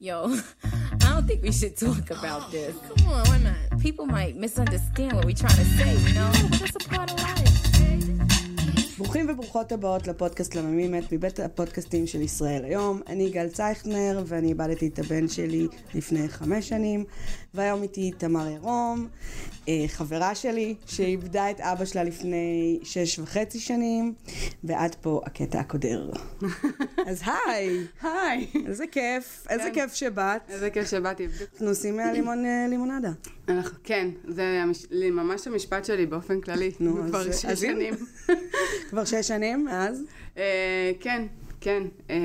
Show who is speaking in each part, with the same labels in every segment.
Speaker 1: Yo, I don't think we should talk about this.
Speaker 2: Come on, why not?
Speaker 1: People might misunderstand what we're trying to say, you know? But that's a part of life.
Speaker 3: ברוכים וברוכות הבאות לפודקאסט לממימת מבית הפודקאסטים של ישראל היום. אני גל צייכנר ואני איבדתי את הבן שלי לפני חמש שנים, והיום איתי תמר ירום, אה, חברה שלי שאיבדה את אבא שלה לפני שש וחצי שנים, ועד פה הקטע הקודר. אז היי,
Speaker 4: היי.
Speaker 3: איזה כיף, איזה
Speaker 4: כן.
Speaker 3: כיף שבאת.
Speaker 4: איזה כיף שבאתי. בדיוק.
Speaker 3: אנחנו עושים מהלימון אה, לימונדה.
Speaker 4: אנחנו, כן, זה המש- לי- ממש המשפט שלי באופן כללי.
Speaker 3: נו,
Speaker 4: זה
Speaker 3: אז-
Speaker 4: כבר
Speaker 3: אז הנה.
Speaker 4: שש שנים.
Speaker 3: כבר שש שנים מאז?
Speaker 4: אה, כן, כן. אה,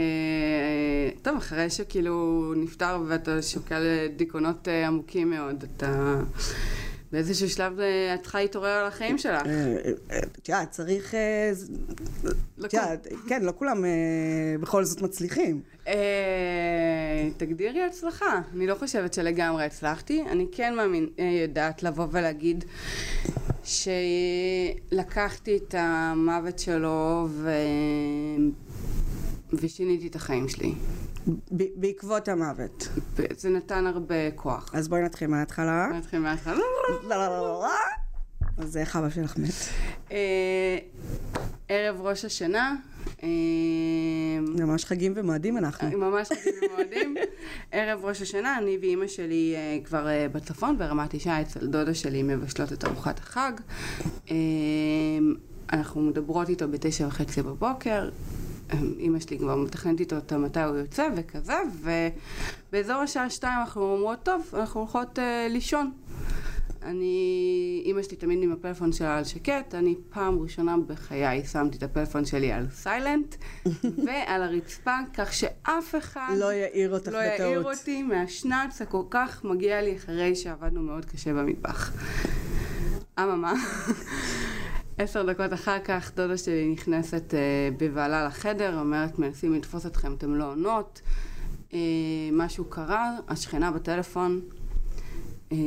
Speaker 4: טוב, אחרי שכאילו נפטר ואתה שוקל דיכאונות אה, עמוקים מאוד, אתה... באיזשהו שלב אה, את צריכה להתעורר על החיים שלך.
Speaker 3: אה, אה, את יודעת, צריך... אה, ז- את יודעת, כן, לא כולם אה, בכל זאת מצליחים.
Speaker 4: אה, תגדירי הצלחה. אני לא חושבת שלגמרי הצלחתי. אני כן מאמין, אה, יודעת לבוא ולהגיד שלקחתי את המוות שלו ו... ושיניתי את החיים שלי.
Speaker 3: ב- בעקבות המוות.
Speaker 4: זה נתן הרבה כוח.
Speaker 3: אז בואי נתחיל מההתחלה.
Speaker 4: נתחיל מההתחלה.
Speaker 3: לא, לא, לא, לא, לא. אז איך אבא שלך מת?
Speaker 4: אה, ערב ראש השנה. אה,
Speaker 3: ממש חגים ומועדים אנחנו.
Speaker 4: ממש חגים ומועדים. ערב ראש השנה, אני ואימא שלי אה, כבר אה, בצפון, ברמת אישה, אצל דודה שלי מבשלות את ארוחת החג. אה, אנחנו מדברות איתו בתשע וחצי בבוקר. אה, אימא שלי כבר מתכננת איתו אותה מתי הוא יוצא וכזה, ובאזור השעה שתיים אנחנו אומרות, טוב, אנחנו הולכות אה, לישון. אני, אימא שלי תמיד עם הפלאפון שלה על שקט, אני פעם ראשונה בחיי שמתי את הפלאפון שלי על סיילנט ועל הרצפה, כך שאף אחד
Speaker 3: לא יעיר אותך
Speaker 4: לא יעיר
Speaker 3: בטעות.
Speaker 4: אותי מהשנץ הכל כך מגיע לי אחרי שעבדנו מאוד קשה במטבח. אממה, עשר דקות אחר כך דודה שלי נכנסת אה, בבהלה לחדר, אומרת מנסים לתפוס אתכם, אתם לא עונות. אה, משהו קרה, השכנה בטלפון. אה,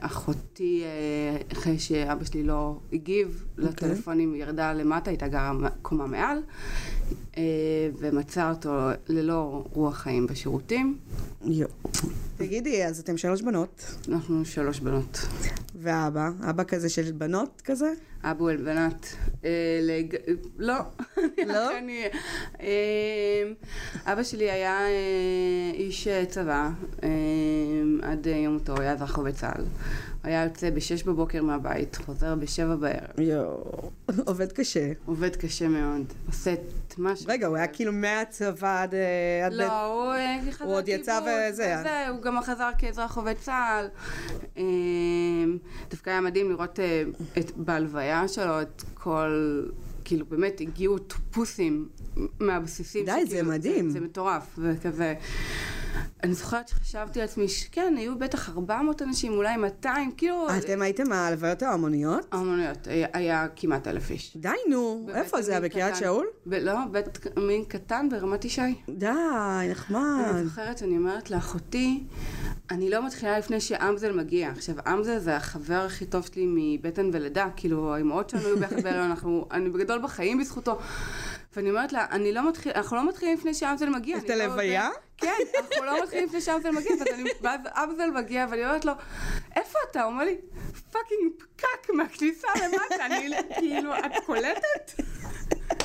Speaker 4: אחותי, אה, אחרי שאבא שלי לא הגיב לטלפונים, ירדה למטה, הייתה גרה קומה מעל, אה, ומצאה אותו ללא רוח חיים בשירותים.
Speaker 3: יו. תגידי, אז אתם שלוש בנות,
Speaker 4: אנחנו שלוש בנות.
Speaker 3: ואבא, אבא כזה של בנות כזה?
Speaker 4: אבו אלבנת. אה, לג... לא.
Speaker 3: לא?
Speaker 4: אני... אה, אבא שלי היה אה, איש אה, צבא, אה, עד אה, יום מותו, הוא היה אזרח חובד צה"ל. הוא היה יוצא בשש בבוקר מהבית, חוזר בשבע בערב.
Speaker 3: יו. עובד קשה.
Speaker 4: עובד קשה מאוד, עושה את מה ש...
Speaker 3: רגע, הוא היה כאילו מהצבא עד... אה, עד
Speaker 4: לא,
Speaker 3: בית-
Speaker 4: הוא אה, חזר
Speaker 3: הוא עוד יצא
Speaker 4: קיבוץ,
Speaker 3: וזה.
Speaker 4: וזה, הוא גם חזר כאזרח עובד צה"ל. אה, דווקא היה מדהים לראות אה, את, בהלוויה שלו את כל... כאילו באמת הגיעו טופוסים מהבסיסים.
Speaker 3: די, זה
Speaker 4: שכאילו,
Speaker 3: מדהים.
Speaker 4: זה, זה מטורף, וכזה. אני זוכרת שחשבתי לעצמי שכן, כן, היו בטח 400 אנשים, אולי 200, כאילו...
Speaker 3: אה, אתם הייתם ההלוויות ההמוניות?
Speaker 4: אמנויות, היה, היה כמעט אלף איש.
Speaker 3: די, נו.
Speaker 4: בבית
Speaker 3: איפה זה היה?
Speaker 4: עלמין
Speaker 3: בקריית
Speaker 4: קטן.
Speaker 3: שאול?
Speaker 4: ב- לא, בית עלמין קטן ברמת ישי.
Speaker 3: די,
Speaker 4: אני
Speaker 3: נחמד.
Speaker 4: זוכרת, אני אומרת לאחותי, אני לא מתחילה לפני שאמזל מגיע. עכשיו, אמזל זה החבר הכי טוב שלי מבטן ולידה, כאילו, האמהות שלנו היו ביחד בהריון, אנחנו, אני בגדול בחיים בזכותו. ואני אומרת לה, אני לא מתחיל, אנחנו לא מתחילים לפני שאמזל מגיע.
Speaker 3: את
Speaker 4: אני לא
Speaker 3: הלוויה?
Speaker 4: יודעת- כן, אנחנו לא מתחילים לפני שאמזל מגיע, ואז אני- ואז אמזל מגיע, ואני אומרת לו, איפה אתה? הוא אומר לי, פאקינג פקק מהכניסה למטה, אני כאילו, את קולטת?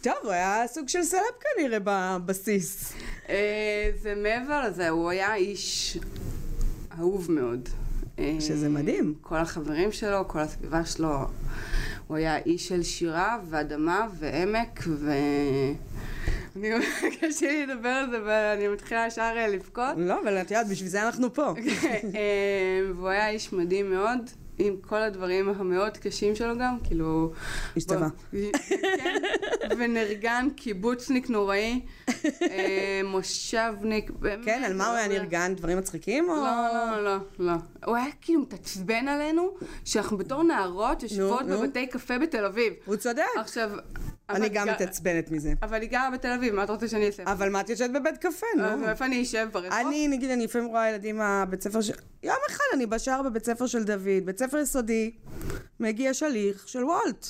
Speaker 3: טוב, הוא היה סוג של סלב כנראה בבסיס.
Speaker 4: אה, זה מעבר לזה, הוא היה איש אהוב מאוד. אה,
Speaker 3: שזה מדהים.
Speaker 4: כל החברים שלו, כל הסביבה שלו. הוא היה איש של שירה ואדמה ועמק ו... אני קשה לי לדבר על זה ואני מתחילה ישר אה, לבכות.
Speaker 3: לא, אבל את יודעת, בשביל זה אנחנו פה.
Speaker 4: אה, והוא היה איש מדהים מאוד, עם כל הדברים המאוד קשים שלו גם, כאילו...
Speaker 3: איש צבא.
Speaker 4: בוא- כן, ונרגן, קיבוצניק נוראי, אה, מושבניק, באמת.
Speaker 3: כן, על מה הוא היה נרגן? דברים מצחיקים או...
Speaker 4: לא, לא, לא, לא. הוא היה כאילו מתעצבן עלינו, שאנחנו בתור נערות יושבות
Speaker 3: נו.
Speaker 4: בבתי קפה בתל אביב.
Speaker 3: הוא צודק.
Speaker 4: עכשיו... אבל
Speaker 3: אני גם
Speaker 4: גר-
Speaker 3: מתעצבנת מזה.
Speaker 4: אבל היא גרה בתל אביב, מה את רוצה שאני אעשה?
Speaker 3: אבל מה את יושבת בבית קפה,
Speaker 4: אז
Speaker 3: נו?
Speaker 4: איפה אני אשב ברחוב?
Speaker 3: אני, נגיד, אני לפעמים רואה ילדים מהבית ספר של... יום אחד אני בשער בבית ספר של דוד, בית ספר יסודי, מגיע שליח של וולט.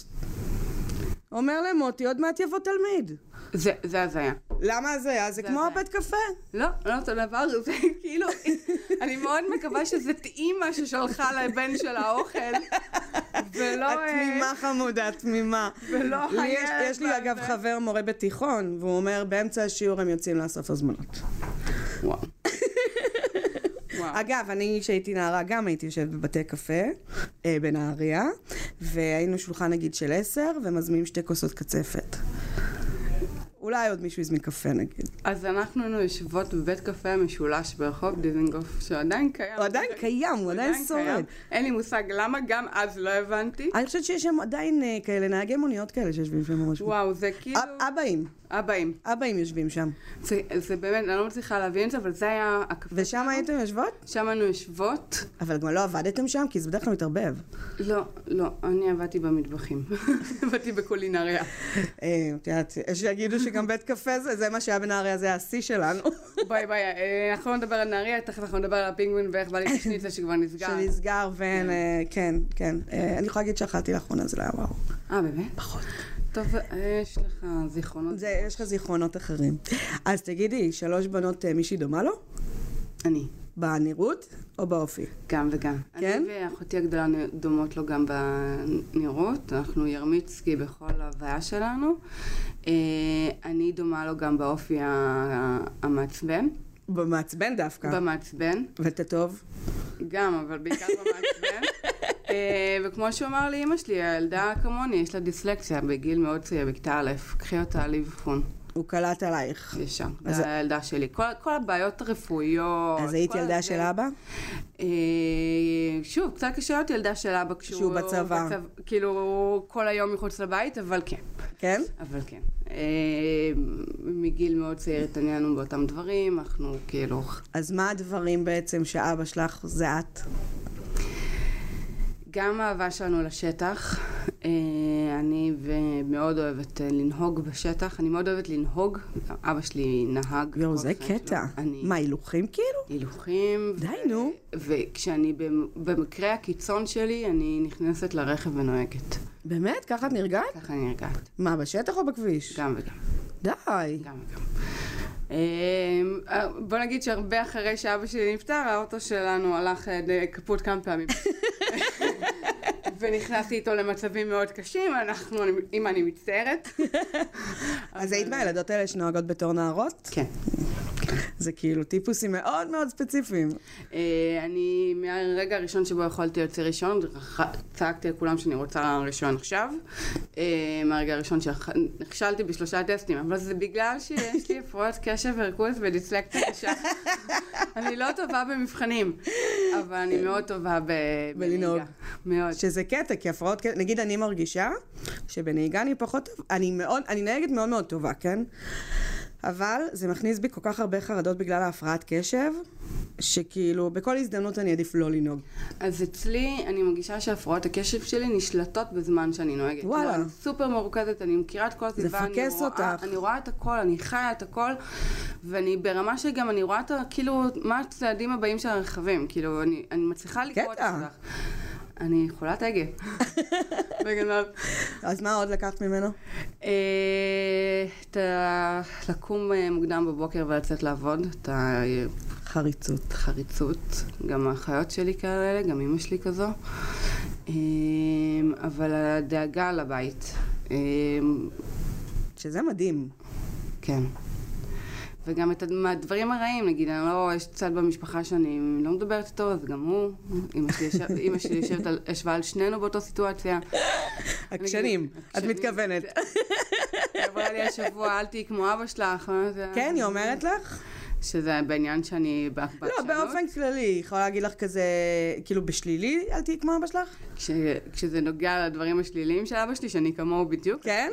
Speaker 3: אומר למוטי, עוד מעט יבוא תלמיד.
Speaker 4: זה, זה הזיה.
Speaker 3: למה זה היה? זה
Speaker 4: זה
Speaker 3: כמו
Speaker 4: זה.
Speaker 3: הבית קפה.
Speaker 4: לא, לא אותו דבר, זה כאילו, אני מאוד מקווה שזאת אימא ששלחה לבן שלה אוכל, ולא...
Speaker 3: את
Speaker 4: אה,
Speaker 3: תמימה חמודה, את תמימה.
Speaker 4: ולא
Speaker 3: לי יש-
Speaker 4: הילד
Speaker 3: יש לי אגב
Speaker 4: והזה.
Speaker 3: חבר מורה בתיכון, והוא אומר, באמצע השיעור הם יוצאים לאסוף הזמנות.
Speaker 4: וואו. וואו.
Speaker 3: אגב, אני כשהייתי נערה גם הייתי יושבת בבתי קפה אה, בנהריה, והיינו שולחן נגיד של עשר, ומזמינים שתי כוסות קצפת. אולי עוד מישהו הזמין קפה נגיד.
Speaker 4: אז אנחנו היינו יושבות בבית קפה המשולש ברחוב דיזנגוף, שעדיין קיים.
Speaker 3: הוא עדיין קיים, הוא עדיין שורד. אה,
Speaker 4: קיים. אין לי מושג למה, גם אז לא הבנתי.
Speaker 3: אני חושבת שיש שם עדיין אה, כאלה נהגי מוניות כאלה שיושבים שם ממש.
Speaker 4: וואו, זה כאילו...
Speaker 3: אב- אבאים,
Speaker 4: אבאים.
Speaker 3: אבאים יושבים שם.
Speaker 4: זה- זה באמת, אני לא מצליחה להבין את זה, אבל זה היה הקפה.
Speaker 3: ושם הייתם יושבות?
Speaker 4: שם היינו יושבות.
Speaker 3: אבל גם לא עבדתם שם, כי זה בדרך כלל מתערבב.
Speaker 4: לא, לא, אני עבדתי במטבחים. עבדתי בקולינריה.
Speaker 3: אה, את יודעת, שיגידו שגם בית קפה זה, זה מה שהיה בנהריה, זה היה השיא שלנו.
Speaker 4: ביי ביי, אה, אנחנו לא נדבר על נהריה, תכף אנחנו נדבר על הפינגווין ואיך בא לי שניצה שכבר נסגר.
Speaker 3: שנסגר ואין, אה, כן, כן. אה, אני יכולה להגיד שאכלתי לאחרונה, זה לא היה וואו.
Speaker 4: אה, באמת? פחות. טוב, אה, יש לך זיכרונות.
Speaker 3: זה, יש לך זיכרונות אחרים. אז תגידי, שלוש בנות, אה, מישהי דומה לו?
Speaker 4: אני.
Speaker 3: בנראות או באופי?
Speaker 4: גם וגם.
Speaker 3: כן?
Speaker 4: אני ואחותי הגדולה דומות לו גם בנראות, אנחנו ירמיצקי בכל ההוויה שלנו. אה, אני דומה לו גם באופי ה- ה- המעצבן,
Speaker 3: במעצבן דווקא.
Speaker 4: במעצבן,
Speaker 3: ואתה טוב?
Speaker 4: גם, אבל בעיקר במעצבן. אה, וכמו שאמר לי אמא שלי, הילדה כמוני, יש לה דיסלקציה בגיל מאוד צעיר, בכיתה א', קחי אותה לאבחון
Speaker 3: הוא קלט עלייך.
Speaker 4: ישר.
Speaker 3: אז-
Speaker 4: זה הילדה שלי. כל, כל הבעיות הרפואיות.
Speaker 3: אז היית
Speaker 4: לא, כל
Speaker 3: ילדה
Speaker 4: זה.
Speaker 3: של אבא?
Speaker 4: אה, שוב, קצת קשה להיות ילדה של אבא כשהוא...
Speaker 3: כשהוא בצבא.
Speaker 4: בצבא- כאילו, כל היום מחוץ לבית, אבל כן.
Speaker 3: כן?
Speaker 4: אבל כן. אה, מגיל מאוד צעיר התעניינו באותם דברים, אנחנו כאילו...
Speaker 3: אז מה הדברים בעצם שאבא שלך זה את?
Speaker 4: גם האהבה שלנו לשטח, אה, אני ו- מאוד אוהבת אה, לנהוג בשטח, אני מאוד אוהבת לנהוג, אבא שלי נהג.
Speaker 3: יואו,
Speaker 4: כל
Speaker 3: זה
Speaker 4: החיים
Speaker 3: קטע.
Speaker 4: שלו. אני...
Speaker 3: מה, הילוכים כאילו?
Speaker 4: הילוכים.
Speaker 3: די, נו.
Speaker 4: וכשאני במ- במקרה הקיצון שלי, אני נכנסת לרכב ונוהגת.
Speaker 3: באמת? ככה את נרגעת?
Speaker 4: ככה אני נרגעת.
Speaker 3: מה, בשטח או בכביש?
Speaker 4: גם וגם.
Speaker 3: די.
Speaker 4: גם וגם. אה, בוא נגיד שהרבה אחרי שאבא שלי נפטר, האוטו שלנו הלך אה, די- קפוט כמה פעמים. ונכנסתי איתו למצבים מאוד קשים, אנחנו, אני- אם אני מצטערת.
Speaker 3: אז היית מהילדות האלה שנוהגות בתור נערות?
Speaker 4: כן.
Speaker 3: זה כאילו טיפוסים מאוד מאוד ספציפיים.
Speaker 4: אה, אני, מהרגע הראשון שבו יכולתי להוציא ראשון, ח- צעקתי לכולם שאני רוצה ראשון עכשיו. אה, מהרגע הראשון שנכשלתי בשלושה טסטים, אבל זה בגלל שיש לי הפרעות קשב וריכוז ודיסלקציה קשה. אני לא טובה במבחנים, אבל אני מאוד טובה ב...
Speaker 3: בלנהוג.
Speaker 4: בנהיגה. מאוד.
Speaker 3: שזה קטע, כי הפרעות, קשב- נגיד אני מרגישה שבנהיגה אני פחות טוב, אני מאוד, אני נהגת מאוד מאוד טובה, כן? אבל זה מכניס בי כל כך הרבה חרדות בגלל ההפרעת קשב, שכאילו בכל הזדמנות אני אעדיף לא לנהוג.
Speaker 4: אז אצלי, אני מרגישה שהפרעות הקשב שלי נשלטות בזמן שאני נוהגת.
Speaker 3: וואלה.
Speaker 4: לא, אני סופר מרוכזת, אני מכירה את כל הסביבה. אני
Speaker 3: מפקס
Speaker 4: רואה-
Speaker 3: אותך.
Speaker 4: אני רואה את הכל, אני חיה את הכל, ואני ברמה שגם אני רואה את ה... כאילו, מה הצעדים הבאים של הרכבים. כאילו, אני, אני מצליחה לקרוא את
Speaker 3: קטע.
Speaker 4: הסביבה. אני חולת הגה. בגנב.
Speaker 3: אז מה עוד לקחת ממנו?
Speaker 4: אה, את ה... לקום אה, מוקדם בבוקר ולצאת לעבוד, את ה...
Speaker 3: חריצות.
Speaker 4: חריצות, גם האחיות שלי כאלה, גם אימא שלי כזו. אמ, אבל הדאגה לבית, אמ,
Speaker 3: שזה מדהים.
Speaker 4: כן. וגם את הד- מהדברים הרעים, נגיד, אני לא, יש צד במשפחה שאני לא מדברת איתו, אז גם הוא, אמא שלי יושב- אמא שלי יושבת על- ישבה על שנינו באותה סיטואציה.
Speaker 3: עקשנים, את
Speaker 4: עקשנים.
Speaker 3: מתכוונת.
Speaker 4: היא אמרה לי השבוע, אל תהיי כמו אבא שלך. אני אומרת,
Speaker 3: כן, היא אומרת לך?
Speaker 4: שזה בעניין שאני בעקבת
Speaker 3: לא, באופן כללי, היא יכולה להגיד לך כזה, כאילו בשלילי, אל תהיי כמו אבא שלך?
Speaker 4: כש, כשזה נוגע לדברים השליליים של אבא שלי, שאני כמוהו בדיוק,
Speaker 3: כן?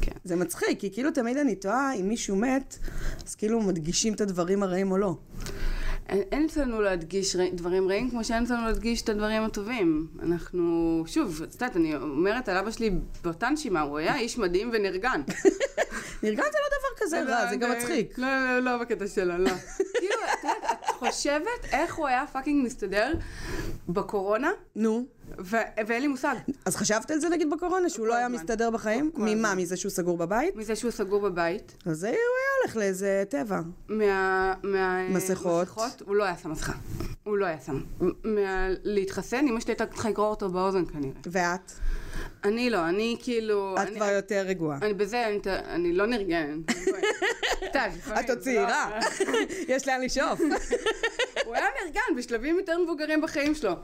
Speaker 4: כן.
Speaker 3: זה מצחיק, כי כאילו תמיד אני תוהה אם מישהו מת, אז כאילו מדגישים את הדברים הרעים או לא.
Speaker 4: אין אין אצלנו להדגיש רע- דברים רעים כמו שאין אצלנו להדגיש את הדברים הטובים. אנחנו, שוב, את יודעת, אני אומרת על אבא שלי באותה נשימה, הוא היה איש מדהים ונרגן.
Speaker 3: נרגן זה לא דבר כזה רע, זה גם מצחיק.
Speaker 4: לא, לא, לא בקטע שלו, לא. כאילו, את יודעת, את חושבת איך הוא היה פאקינג מסתדר בקורונה,
Speaker 3: נו.
Speaker 4: ו- ואין לי מושג.
Speaker 3: אז חשבת על זה נגיד בקורונה, שהוא לא היה
Speaker 4: הזמן.
Speaker 3: מסתדר בחיים? ממה? מזה שהוא סגור בבית?
Speaker 4: מזה שהוא סגור בבית,
Speaker 3: אז הוא היה הולך לאיזה טבע.
Speaker 4: מה... מה-
Speaker 3: מסכות.
Speaker 4: מסכות, הוא לא היה שם מסכה. הוא לא היה שם. מה... להתחסן, אמא שלי הייתה צריכה לגרור אותו באוזן כנראה.
Speaker 3: ואת?
Speaker 4: אני לא, אני כאילו...
Speaker 3: את
Speaker 4: אני-
Speaker 3: כבר יותר רגועה.
Speaker 4: אני בזה, אני, ת- אני לא נרגנת. טוב,
Speaker 3: את עוד
Speaker 4: לפעמים,
Speaker 3: צעירה,
Speaker 4: לא.
Speaker 3: יש לאן לשאוף.
Speaker 4: הוא היה נרגן בשלבים יותר מבוגרים בחיים שלו. אמ,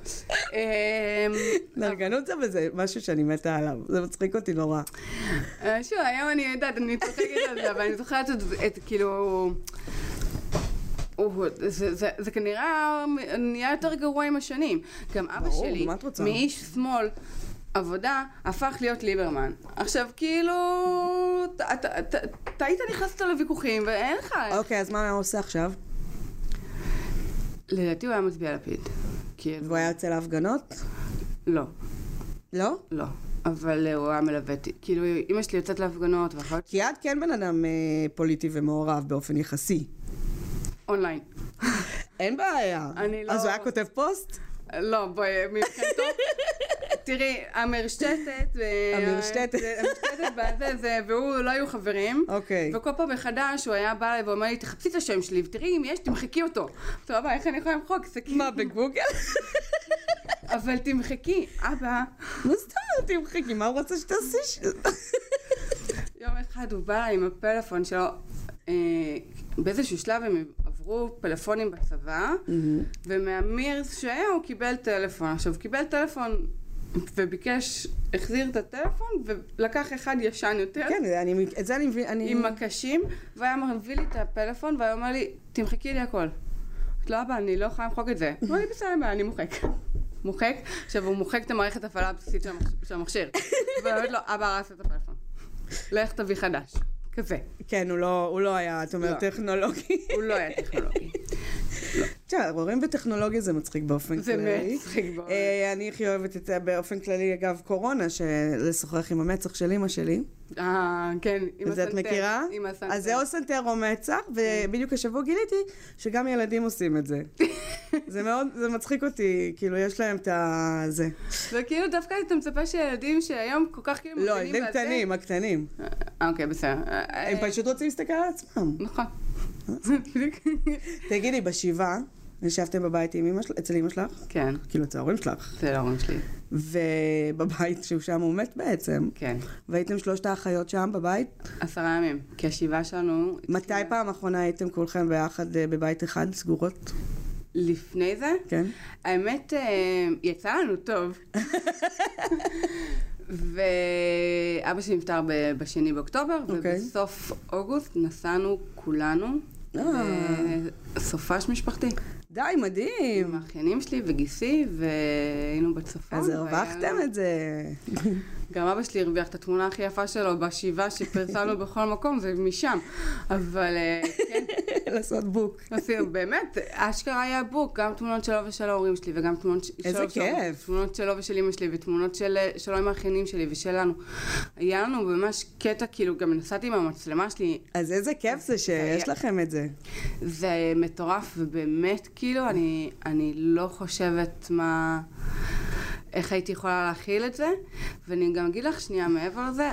Speaker 3: נרגנות זה וזה משהו שאני מתה עליו, זה מצחיק אותי נורא.
Speaker 4: אה, שוב, היום אני יודעת, אני צוחקת על זה, אבל אני זוכרת את זה, את כאילו... הוא- זה, זה, זה כנראה נהיה יותר גרוע עם השנים. גם אבא
Speaker 3: ברור,
Speaker 4: שלי,
Speaker 3: מה את רוצה?
Speaker 4: מאיש שמאל עבודה, הפך להיות ליברמן. עכשיו, כאילו, אתה- אתה אתה- אתה היית נכנס איתו לוויכוחים, ואין לך...
Speaker 3: אוקיי, אז מה הוא היה עושה עכשיו?
Speaker 4: לדעתי הוא היה מצביע לפיד. כאילו,
Speaker 3: והוא היה יוצא להפגנות?
Speaker 4: לא,
Speaker 3: לא?
Speaker 4: לא. אבל אה, הוא היה מלווה אותי. כאילו, אמא שלי יוצאת להפגנות, ואחר כך
Speaker 3: כי את כן בן אדם אה, פוליטי ומעורב באופן יחסי.
Speaker 4: אונליין.
Speaker 3: אין בעיה.
Speaker 4: אני לא-
Speaker 3: אז הוא היה כותב פוסט?
Speaker 4: לא, בואי, מבחינתו... תראי, המרשתת... אה,
Speaker 3: המרשתת.
Speaker 4: זה- המרשתת בזה, זה, והוא לא היו חברים.
Speaker 3: אוקיי.
Speaker 4: וכל פעם מחדש הוא היה בא אליי ואומר לי, תחפשי את השם שלי, ותראי אם יש, תמחקי אותו. טוב, אבל איך אני יכולה למחוק? זה כאילו...
Speaker 3: מה, בגוגל?
Speaker 4: אבל תמחקי, אבא.
Speaker 3: מה זאת אומרת, תמחקי, מה הוא רוצה שתעשי? ש-
Speaker 4: יום אחד הוא בא אליי עם הפלאפון שלו. אה, באיזשהו שלב הם עברו פלאפונים בצבא, ומהמירס שהיה הוא קיבל טלפון. עכשיו, הוא קיבל טלפון וביקש, החזיר את הטלפון, ולקח אחד ישן יותר.
Speaker 3: כן, אני- את זה אני מבין, אני...
Speaker 4: עם מקשים, והיה מביא לי את הפלאפון, והיה אומר לי, תמחקי לי הכל. את לא אבא, אני לא יכולה למחוק את זה. אמר לי, בסדר, אין בעיה, אני מוחק. מוחק, עכשיו הוא מוחק את המערכת ההפעלה הבסיסית של המח- של המכשיר. ואומרת לו, "לא, אבא הרס את הפלאפון. לך תביא חדש. כזה.
Speaker 3: כן, הוא לא- הוא לא היה, את אומרת,
Speaker 4: לא.
Speaker 3: טכנולוגי.
Speaker 4: הוא לא היה טכנולוגי.
Speaker 3: תראה, רואים בטכנולוגיה זה מצחיק באופן
Speaker 4: זה
Speaker 3: כללי.
Speaker 4: מצחיק מאוד.
Speaker 3: אה, אני הכי אוהבת את זה באופן כללי, אגב, קורונה, שלשוחח עם המצח של אימא שלי.
Speaker 4: אה, כן, עם
Speaker 3: את זה את
Speaker 4: הסנטר.
Speaker 3: מכירה?
Speaker 4: עם הסנטר.
Speaker 3: אז זה או סנטר או מצח, ובדיוק השבוע גיליתי שגם ילדים עושים את זה. זה מאוד, זה מצחיק אותי, כאילו, יש להם את ה... זה.
Speaker 4: וכאילו דווקא אתה מצפה שילדים שהיום כל כך כאילו...
Speaker 3: לא,
Speaker 4: מבינים
Speaker 3: ילדים
Speaker 4: בזה-
Speaker 3: קטנים, הקטנים.
Speaker 4: אה, אוקיי, בסדר.
Speaker 3: הם
Speaker 4: אה.
Speaker 3: פשוט רוצים להסתכל על עצמם.
Speaker 4: נכון. בדיוק.
Speaker 3: תגידי, בשבעה, ישבתם בבית עם אמא שלך, אצל אמא שלך?
Speaker 4: כן,
Speaker 3: כאילו, אצל ההורים שלך.
Speaker 4: זה לא ההורים שלי.
Speaker 3: ובבית שהוא שם הוא מת בעצם.
Speaker 4: כן.
Speaker 3: והייתם שלושת האחיות שם בבית?
Speaker 4: עשרה ימים, כי השבעה שלנו...
Speaker 3: מתי פעם אחרונה הייתם כולכם ביחד אה, בבית אחד, סגורות?
Speaker 4: לפני זה?
Speaker 3: כן.
Speaker 4: האמת, אה, יצא לנו טוב. ואבא שלי נפטר ב- בשני באוקטובר,
Speaker 3: אוקיי.
Speaker 4: ובסוף אוגוסט נסענו כולנו. אה,
Speaker 3: אה.
Speaker 4: סופש משפחתי.
Speaker 3: די, מדהים.
Speaker 4: עם האחיינים שלי וגיסי, והיינו בצפון.
Speaker 3: אז
Speaker 4: והיה
Speaker 3: הרווחתם
Speaker 4: לנו-
Speaker 3: את זה.
Speaker 4: גם אבא שלי הרוויח את התמונה הכי יפה שלו בשבעה שפרסמנו בכל מקום, זה משם. אבל אה, כן,
Speaker 3: לעשות בוק.
Speaker 4: עשינו, באמת, אשכרה היה בוק, גם תמונות שלו ושל ההורים שלי, וגם תמונות ש- שלו
Speaker 3: איזה
Speaker 4: ושל ההורים,
Speaker 3: כיף.
Speaker 4: תמונות שלו ושל אמא שלי, ותמונות של, שלו עם האחיינים שלי ושלנו. היה לנו ממש קטע, כאילו, גם נסעתי עם המצלמה שלי,
Speaker 3: אז איזה כיף זה שיש לכם את זה.
Speaker 4: זה מטורף, ובאמת, כאילו, אני, אני לא חושבת מה... איך הייתי יכולה להכיל את זה, ואני גם אגיד לך שנייה מעבר לזה,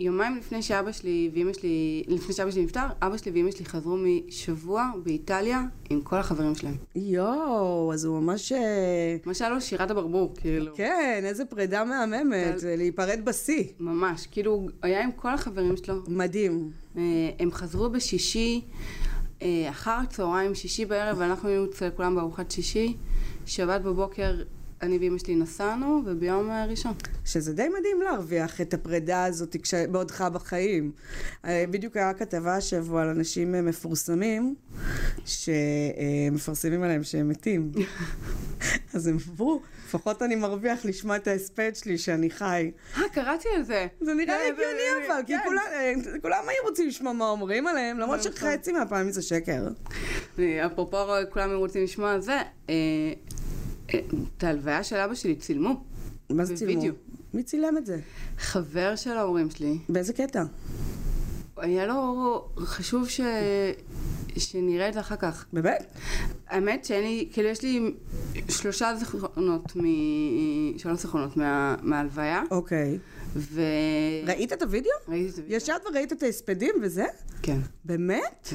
Speaker 4: יומיים לפני שאבא שלי ואימא שלי, לפני שאבא שלי נפטר, אבא שלי ואימא שלי חזרו משבוע באיטליה עם כל החברים שלהם.
Speaker 3: יואו, אז הוא ממש... אה,
Speaker 4: מה שהיה לו שירת הברבור, כאילו.
Speaker 3: כן, איזה פרידה מהממת,
Speaker 4: אבל-
Speaker 3: אה, להיפרד בשיא.
Speaker 4: ממש, כאילו, הוא היה עם כל החברים שלו.
Speaker 3: מדהים.
Speaker 4: אה, הם חזרו בשישי, אה, אחר הצהריים, שישי בערב, ואנחנו היינו אצל כולם בארוחת שישי. שבת בבוקר אני ואימא שלי נסענו, וביום אה, ראשון.
Speaker 3: שזה די מדהים להרוויח את הפרידה הזאת כש- בעודך בחיים. אה, בדיוק היה כתבה השבוע על אנשים אה, מפורסמים, שמפרסמים עליהם שהם מתים. אז הם עברו, לפחות אני מרוויח לשמוע את ההספד שלי שאני חי.
Speaker 4: אה, קראתי על זה.
Speaker 3: זה נראה לי
Speaker 4: זה- זה-
Speaker 3: הגיוני
Speaker 4: זה-
Speaker 3: אבל, כי
Speaker 4: כן.
Speaker 3: כולם- אה, כולם היו רוצים לשמוע מה אומרים עליהם, למרות
Speaker 4: נכון.
Speaker 3: שחצי מהפעמים זה שקר.
Speaker 4: אה, אפרופו, כולם היו רוצים לשמוע על זה, אה, אה, את ההלוויה של אבא שלי צילמו.
Speaker 3: מה זה צילמו?
Speaker 4: בווידאו.
Speaker 3: מי צילם את זה?
Speaker 4: חבר של ההורים שלי,
Speaker 3: באיזה קטע?
Speaker 4: היה לו חשוב ש... שנראית אחר כך.
Speaker 3: באמת?
Speaker 4: האמת שאין לי, כאילו יש לי שלושה זיכרונות, מ... שלוש זיכרונות מה... מההלוויה,
Speaker 3: אוקיי.
Speaker 4: ו...
Speaker 3: ראית את הוידאו?
Speaker 4: ראיתי את הוידאו.
Speaker 3: ישבת וראית את ההספדים וזה?
Speaker 4: כן.
Speaker 3: באמת?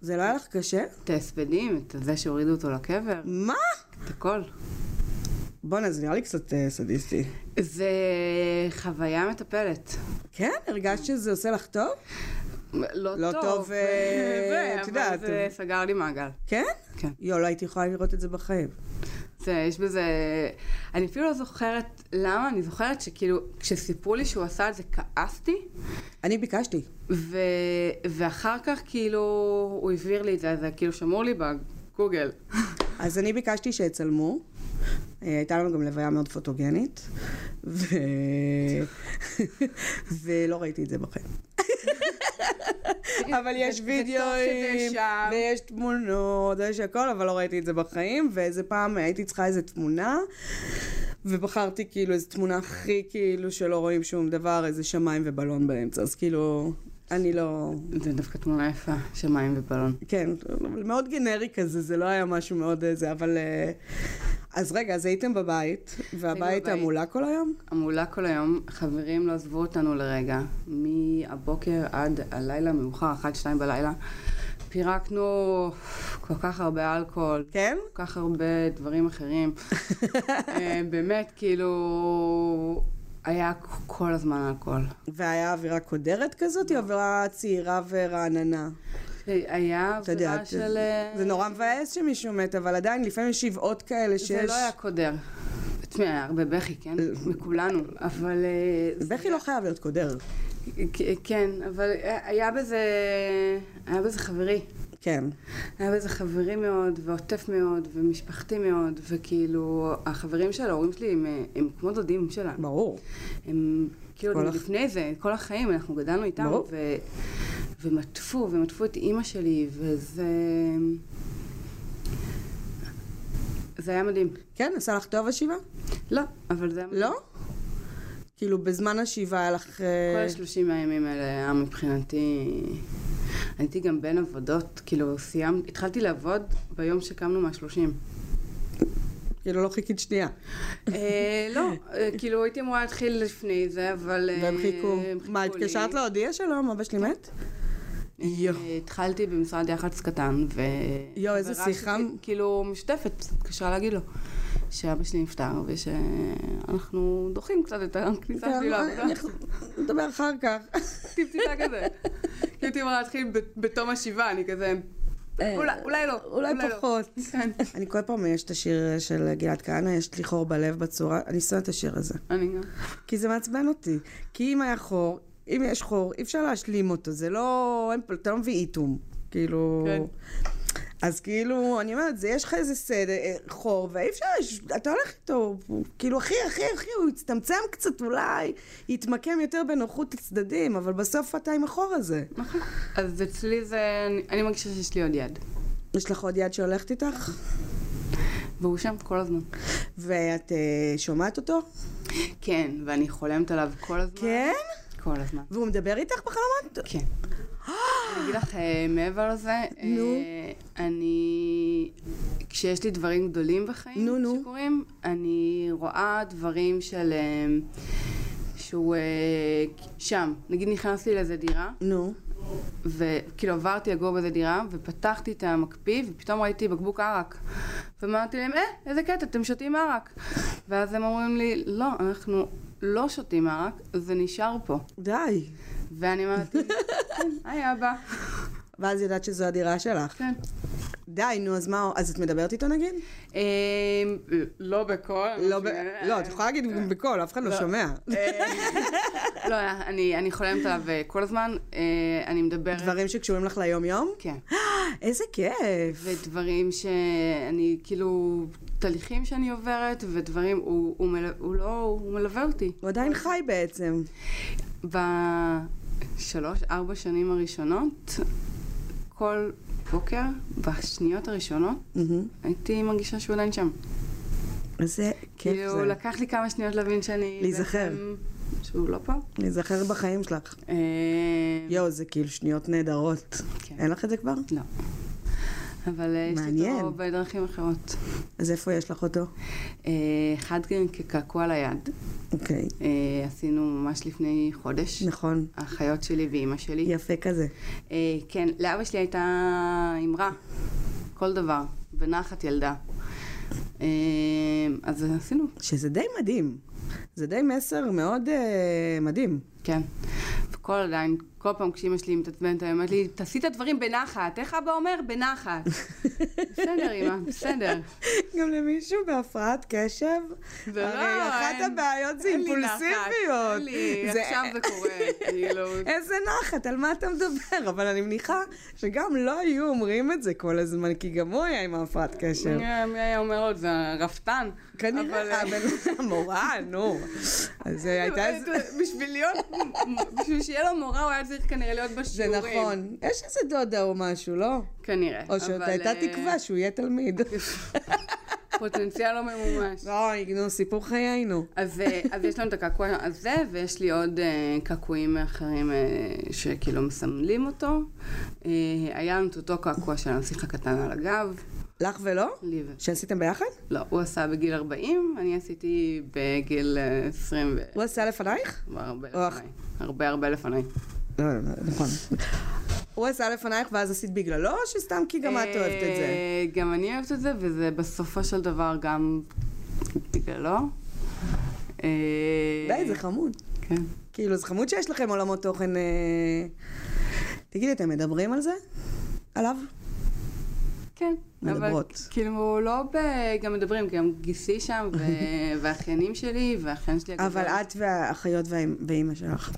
Speaker 3: זה לא היה לך קשה?
Speaker 4: את ההספדים, את זה שהורידו אותו לקבר,
Speaker 3: מה?
Speaker 4: את הכל.
Speaker 3: בואנה, זה נראה לי קצת אה, סדיסטי.
Speaker 4: זה חוויה מטפלת.
Speaker 3: כן? הרגשת שזה עושה לך טוב?
Speaker 4: לא,
Speaker 3: לא טוב, אה,
Speaker 4: זה,
Speaker 3: את
Speaker 4: אבל
Speaker 3: יודעת.
Speaker 4: זה סגר לי מעגל.
Speaker 3: כן?
Speaker 4: כן.
Speaker 3: יואו, לא הייתי יכולה לראות את זה בחיים.
Speaker 4: זה, יש בזה... אני אפילו לא זוכרת למה, אני זוכרת שכאילו, כשסיפרו לי שהוא עשה את זה, כעסתי,
Speaker 3: אני ביקשתי.
Speaker 4: ו... ואחר כך כאילו, הוא הבהיר לי את זה, זה כאילו שמור לי בגוגל.
Speaker 3: אז אני ביקשתי שיצלמו. אה, הייתה לנו גם לוויה מאוד פוטוגנית, ו... ולא ראיתי את זה בחיים. אבל יש
Speaker 4: זה- זה טוב
Speaker 3: וידאוים,
Speaker 4: שזה שם.
Speaker 3: ויש תמונות, ויש הכל, אבל לא ראיתי את זה בחיים, ואיזה פעם הייתי צריכה איזה תמונה, ובחרתי כאילו איזו תמונה הכי כאילו שלא רואים שום דבר, איזה שמיים ובלון באמצע, אז כאילו, אני לא...
Speaker 4: זה דווקא תמונה יפה, שמיים ובלון.
Speaker 3: כן, אבל מאוד גנרי כזה, זה לא היה משהו מאוד אה, זה, אבל... אה, אז רגע, אז הייתם בבית, והבית
Speaker 4: היינו בבית.
Speaker 3: המולה כל היום?
Speaker 4: המולה כל היום, חברים לא עזבו אותנו לרגע. מהבוקר עד הלילה, מאוחר, אחת, שתיים בלילה. פירקנו כל כך הרבה אלכוהול,
Speaker 3: כן?
Speaker 4: כל כך הרבה דברים אחרים. אה, באמת, כאילו, היה כל הזמן אלכוהול.
Speaker 3: והיה אווירה קודרת
Speaker 4: לא.
Speaker 3: כזאת, או אווירה צעירה ורעננה?
Speaker 4: היה
Speaker 3: אתה יודע,
Speaker 4: עבודה
Speaker 3: זה-
Speaker 4: של... אה,
Speaker 3: זה נורא מבאס שמישהו מת, אבל עדיין לפעמים יש שבעות כאלה שיש... אה,
Speaker 4: זה לא היה קודר. תשמע, היה הרבה בכי, כן? מכולנו. אבל... אה, זה-
Speaker 3: בכי לא חייב להיות קודר.
Speaker 4: כ- כן, אבל היה בזה... היה בזה חברי.
Speaker 3: כן.
Speaker 4: היה בזה חברי מאוד, ועוטף מאוד, ומשפחתי מאוד, וכאילו, החברים של ההורים שלי הם, אה, הם כמו דודים שלנו.
Speaker 3: ברור.
Speaker 4: הם כאילו,
Speaker 3: כל
Speaker 4: עוד
Speaker 3: הח-
Speaker 4: לפני זה, כל החיים, אנחנו גדלנו איתם,
Speaker 3: ברור.
Speaker 4: ו... ומטפו, ומטפו את אימא שלי, וזה... זה היה מדהים.
Speaker 3: כן, עשה לך טוב השבעה?
Speaker 4: לא, אבל זה היה מדהים.
Speaker 3: לא? כאילו, בזמן השבעה היה לך... אה,
Speaker 4: כל השלושים הימים האלה היה מבחינתי... הייתי גם בין עבודות, כאילו, סיימתי, התחלתי לעבוד ביום שקמנו מהשלושים.
Speaker 3: כאילו, לא חיכית שנייה.
Speaker 4: אה, לא, אה, כאילו הייתי אמורה להתחיל לפני זה, אבל... אה,
Speaker 3: והם חיכו.
Speaker 4: הם
Speaker 3: מה,
Speaker 4: חיכו לי.
Speaker 3: התקשרת להודיע שלום, אבא שלי מת?
Speaker 4: אה,
Speaker 3: יו.
Speaker 4: התחלתי במשרד יח"צ קטן, ו...
Speaker 3: יו, איזה
Speaker 4: חברה
Speaker 3: שיחה.
Speaker 4: שלי, כאילו, משותפת, התקשרה להגיד לו. שאבא שלי נפטר, ושאנחנו דוחים קצת את הכניסה שלי לעבודה.
Speaker 3: כן, אה, אני- נדבר אחר כך.
Speaker 4: טיפ-טיפה כזה. כאילו הייתי אמורה להתחיל ב- בתום השבעה, אני כזה... אולי- אולי לא.
Speaker 3: אה, אולי
Speaker 4: לא."
Speaker 3: פחות.
Speaker 4: כן,
Speaker 3: אני כל פעם, יש את השיר של גלעד כהנא, יש לי חור בלב בצורה, אני שונאת את השיר הזה.
Speaker 4: אני גם.
Speaker 3: כי זה מעצבן אותי. כי אם היה חור, אם יש חור, אי אפשר להשלים אותו. זה לא... אין פה- אתה לא מביא איתום. כאילו...
Speaker 4: כן.
Speaker 3: אז כאילו, אני אומרת, זה יש לך איזה סדר, אה, חור, ואי אפשר, יש- אתה הולך איתו, הוא- כאילו, אחי, אחי, אחי, הוא יצטמצם קצת אולי, יתמקם יותר בנוחות הצדדים, אבל בסוף אתה עם החור הזה.
Speaker 4: נכון. אז אצלי זה... אני- אני מרגישה שיש לי עוד יד.
Speaker 3: יש לך עוד יד שהולכת איתך?
Speaker 4: והוא שם כל הזמן.
Speaker 3: ואת אה, שומעת אותו?
Speaker 4: כן, ואני חולמת עליו כל הזמן.
Speaker 3: כן?
Speaker 4: כל הזמן.
Speaker 3: והוא מדבר איתך בחלומות?
Speaker 4: כן. אני אגיד לך, אה, מעבר לזה, אה,
Speaker 3: נו.
Speaker 4: אני... כשיש לי דברים גדולים בחיים
Speaker 3: נו, נו.
Speaker 4: שקורים, אני רואה דברים של... אה, שהוא אה, שם. נגיד נכנסתי לאיזה דירה,
Speaker 3: נו.
Speaker 4: וכאילו עברתי לגור באיזה דירה, ופתחתי את המקפיא, ופתאום ראיתי בקבוק ערק. ואמרתי להם, אה, איזה קטע, אתם שותים ערק. ואז הם אומרים לי, לא, אנחנו לא שותים ערק, זה נשאר פה.
Speaker 3: די.
Speaker 4: ואני אמרתי, כן, היי אבא.
Speaker 3: ואז ידעת שזו הדירה שלך.
Speaker 4: כן.
Speaker 3: די, נו, אז מה, אז את מדברת איתו נגיד?
Speaker 4: אה, לא בכל.
Speaker 3: לא, ב-
Speaker 4: כן.
Speaker 3: לא, את יכולה להגיד גם בקול, אף אחד לא שומע.
Speaker 4: אה. לא, אני אני חולמת עליו אה, כל הזמן, אה, אני מדברת.
Speaker 3: דברים שקשורים לך ליום-יום?
Speaker 4: כן.
Speaker 3: איזה כיף.
Speaker 4: ודברים שאני, כאילו, תהליכים שאני עוברת, ודברים, הוא, הוא, מל, הוא לא, הוא מלווה אותי.
Speaker 3: הוא עדיין חי בעצם.
Speaker 4: בשלוש, ארבע שנים הראשונות, כל בוקר, בשניות הראשונות,
Speaker 3: מהמם.
Speaker 4: הייתי מרגישה שהוא עדיין שם.
Speaker 3: איזה כיף
Speaker 4: כאילו,
Speaker 3: זה.
Speaker 4: לקח לי כמה שניות להבין שאני...
Speaker 3: להיזכר.
Speaker 4: בעצם- שהוא לא פה.
Speaker 3: להיזכר בחיים שלך.
Speaker 4: אה,
Speaker 3: יואו, זה כאילו שניות נהדרות.
Speaker 4: כן.
Speaker 3: אין לך את זה כבר?
Speaker 4: לא. אבל אה, יש לי
Speaker 3: מעניין.
Speaker 4: אותו בדרכים אחרות.
Speaker 3: אז איפה יש לך אותו?
Speaker 4: אה, אחד גם כקעקוע ליד.
Speaker 3: אוקיי.
Speaker 4: אה, עשינו ממש לפני חודש.
Speaker 3: נכון.
Speaker 4: האחיות שלי ואימא שלי.
Speaker 3: יפה כזה.
Speaker 4: אה, כן, לאבא שלי הייתה אמרה, כל דבר, בנחת ילדה. אה, אז עשינו,
Speaker 3: שזה די מדהים. זה די מסר מאוד אה, מדהים.
Speaker 4: כן. וכל עדיין, כל פעם כשאימא שלי מתעצבנת, היא אומרת לי, תעשי את הדברים בנחת. איך אבא אומר? בנחת. בסדר, אימא, בסדר.
Speaker 3: גם למישהו בהפרעת קשב?
Speaker 4: זה לא,
Speaker 3: הרי אחת
Speaker 4: אין-
Speaker 3: הבעיות זה
Speaker 4: אין לי נחת,
Speaker 3: אימפולסיביות.
Speaker 4: אין לי,
Speaker 3: זה-
Speaker 4: עכשיו זה קורה, כאילו.
Speaker 3: איזה נחת, על מה אתה מדבר? אבל אני מניחה שגם לא היו אומרים את זה כל הזמן, כי גם הוא היה עם ההפרעת קשב.
Speaker 4: מי היה אומר לו, זה רפתן. אבל,
Speaker 3: כנראה,
Speaker 4: אה,
Speaker 3: הבן המורה, נו. אז אה, הייתה איזה...
Speaker 4: בשביל להיות, בשביל שיהיה לו מורה, הוא היה צריך כנראה להיות
Speaker 3: זה
Speaker 4: בשיעורים.
Speaker 3: נכון. יש איזה דודה או משהו, לא?
Speaker 4: כנראה.
Speaker 3: או שעוד
Speaker 4: אבל,
Speaker 3: הייתה
Speaker 4: אה,
Speaker 3: תקווה שהוא יהיה תלמיד.
Speaker 4: פוטנציאל לא ממומש.
Speaker 3: אוי, נו, סיפור חיינו.
Speaker 4: אז, אה, אז יש לנו את הקעקוע הזה, ויש לי עוד אה, קעקועים אחרים אה, שכאילו מסמלים אותו. אה, היה לנו את אותו קעקוע של הנסיך הקטן על הגב,
Speaker 3: לך ולא?
Speaker 4: לי ו...
Speaker 3: שעשיתם ביחד?
Speaker 4: לא, הוא עשה בגיל 40, אני עשיתי בגיל אה, 20 ו...
Speaker 3: הוא עשה לפנייך?
Speaker 4: כבר הרבה
Speaker 3: אוח.
Speaker 4: לפניי. הרבה הרבה לפניי.
Speaker 3: לא, לא, לא, נכון. הוא עשה לפנייך ואז עשית בגללו, או שסתם כי גם את אוהבת את זה?
Speaker 4: אה, גם אני אוהבת את זה, וזה בסופו של דבר גם בגללו. אה,
Speaker 3: די, זה חמוד.
Speaker 4: כן.
Speaker 3: כאילו, זה חמוד שיש לכם עולמות תוכן... אה, תגידי, אתם מדברים על זה? עליו?
Speaker 4: כן.
Speaker 3: מדברות.
Speaker 4: אבל כאילו, לא ב... גם מדברים, גם גיסי שם, ו... והאחיינים שלי, והאחיין שלי הגדול.
Speaker 3: אבל את והאחיות והאמ- ואימא שלך.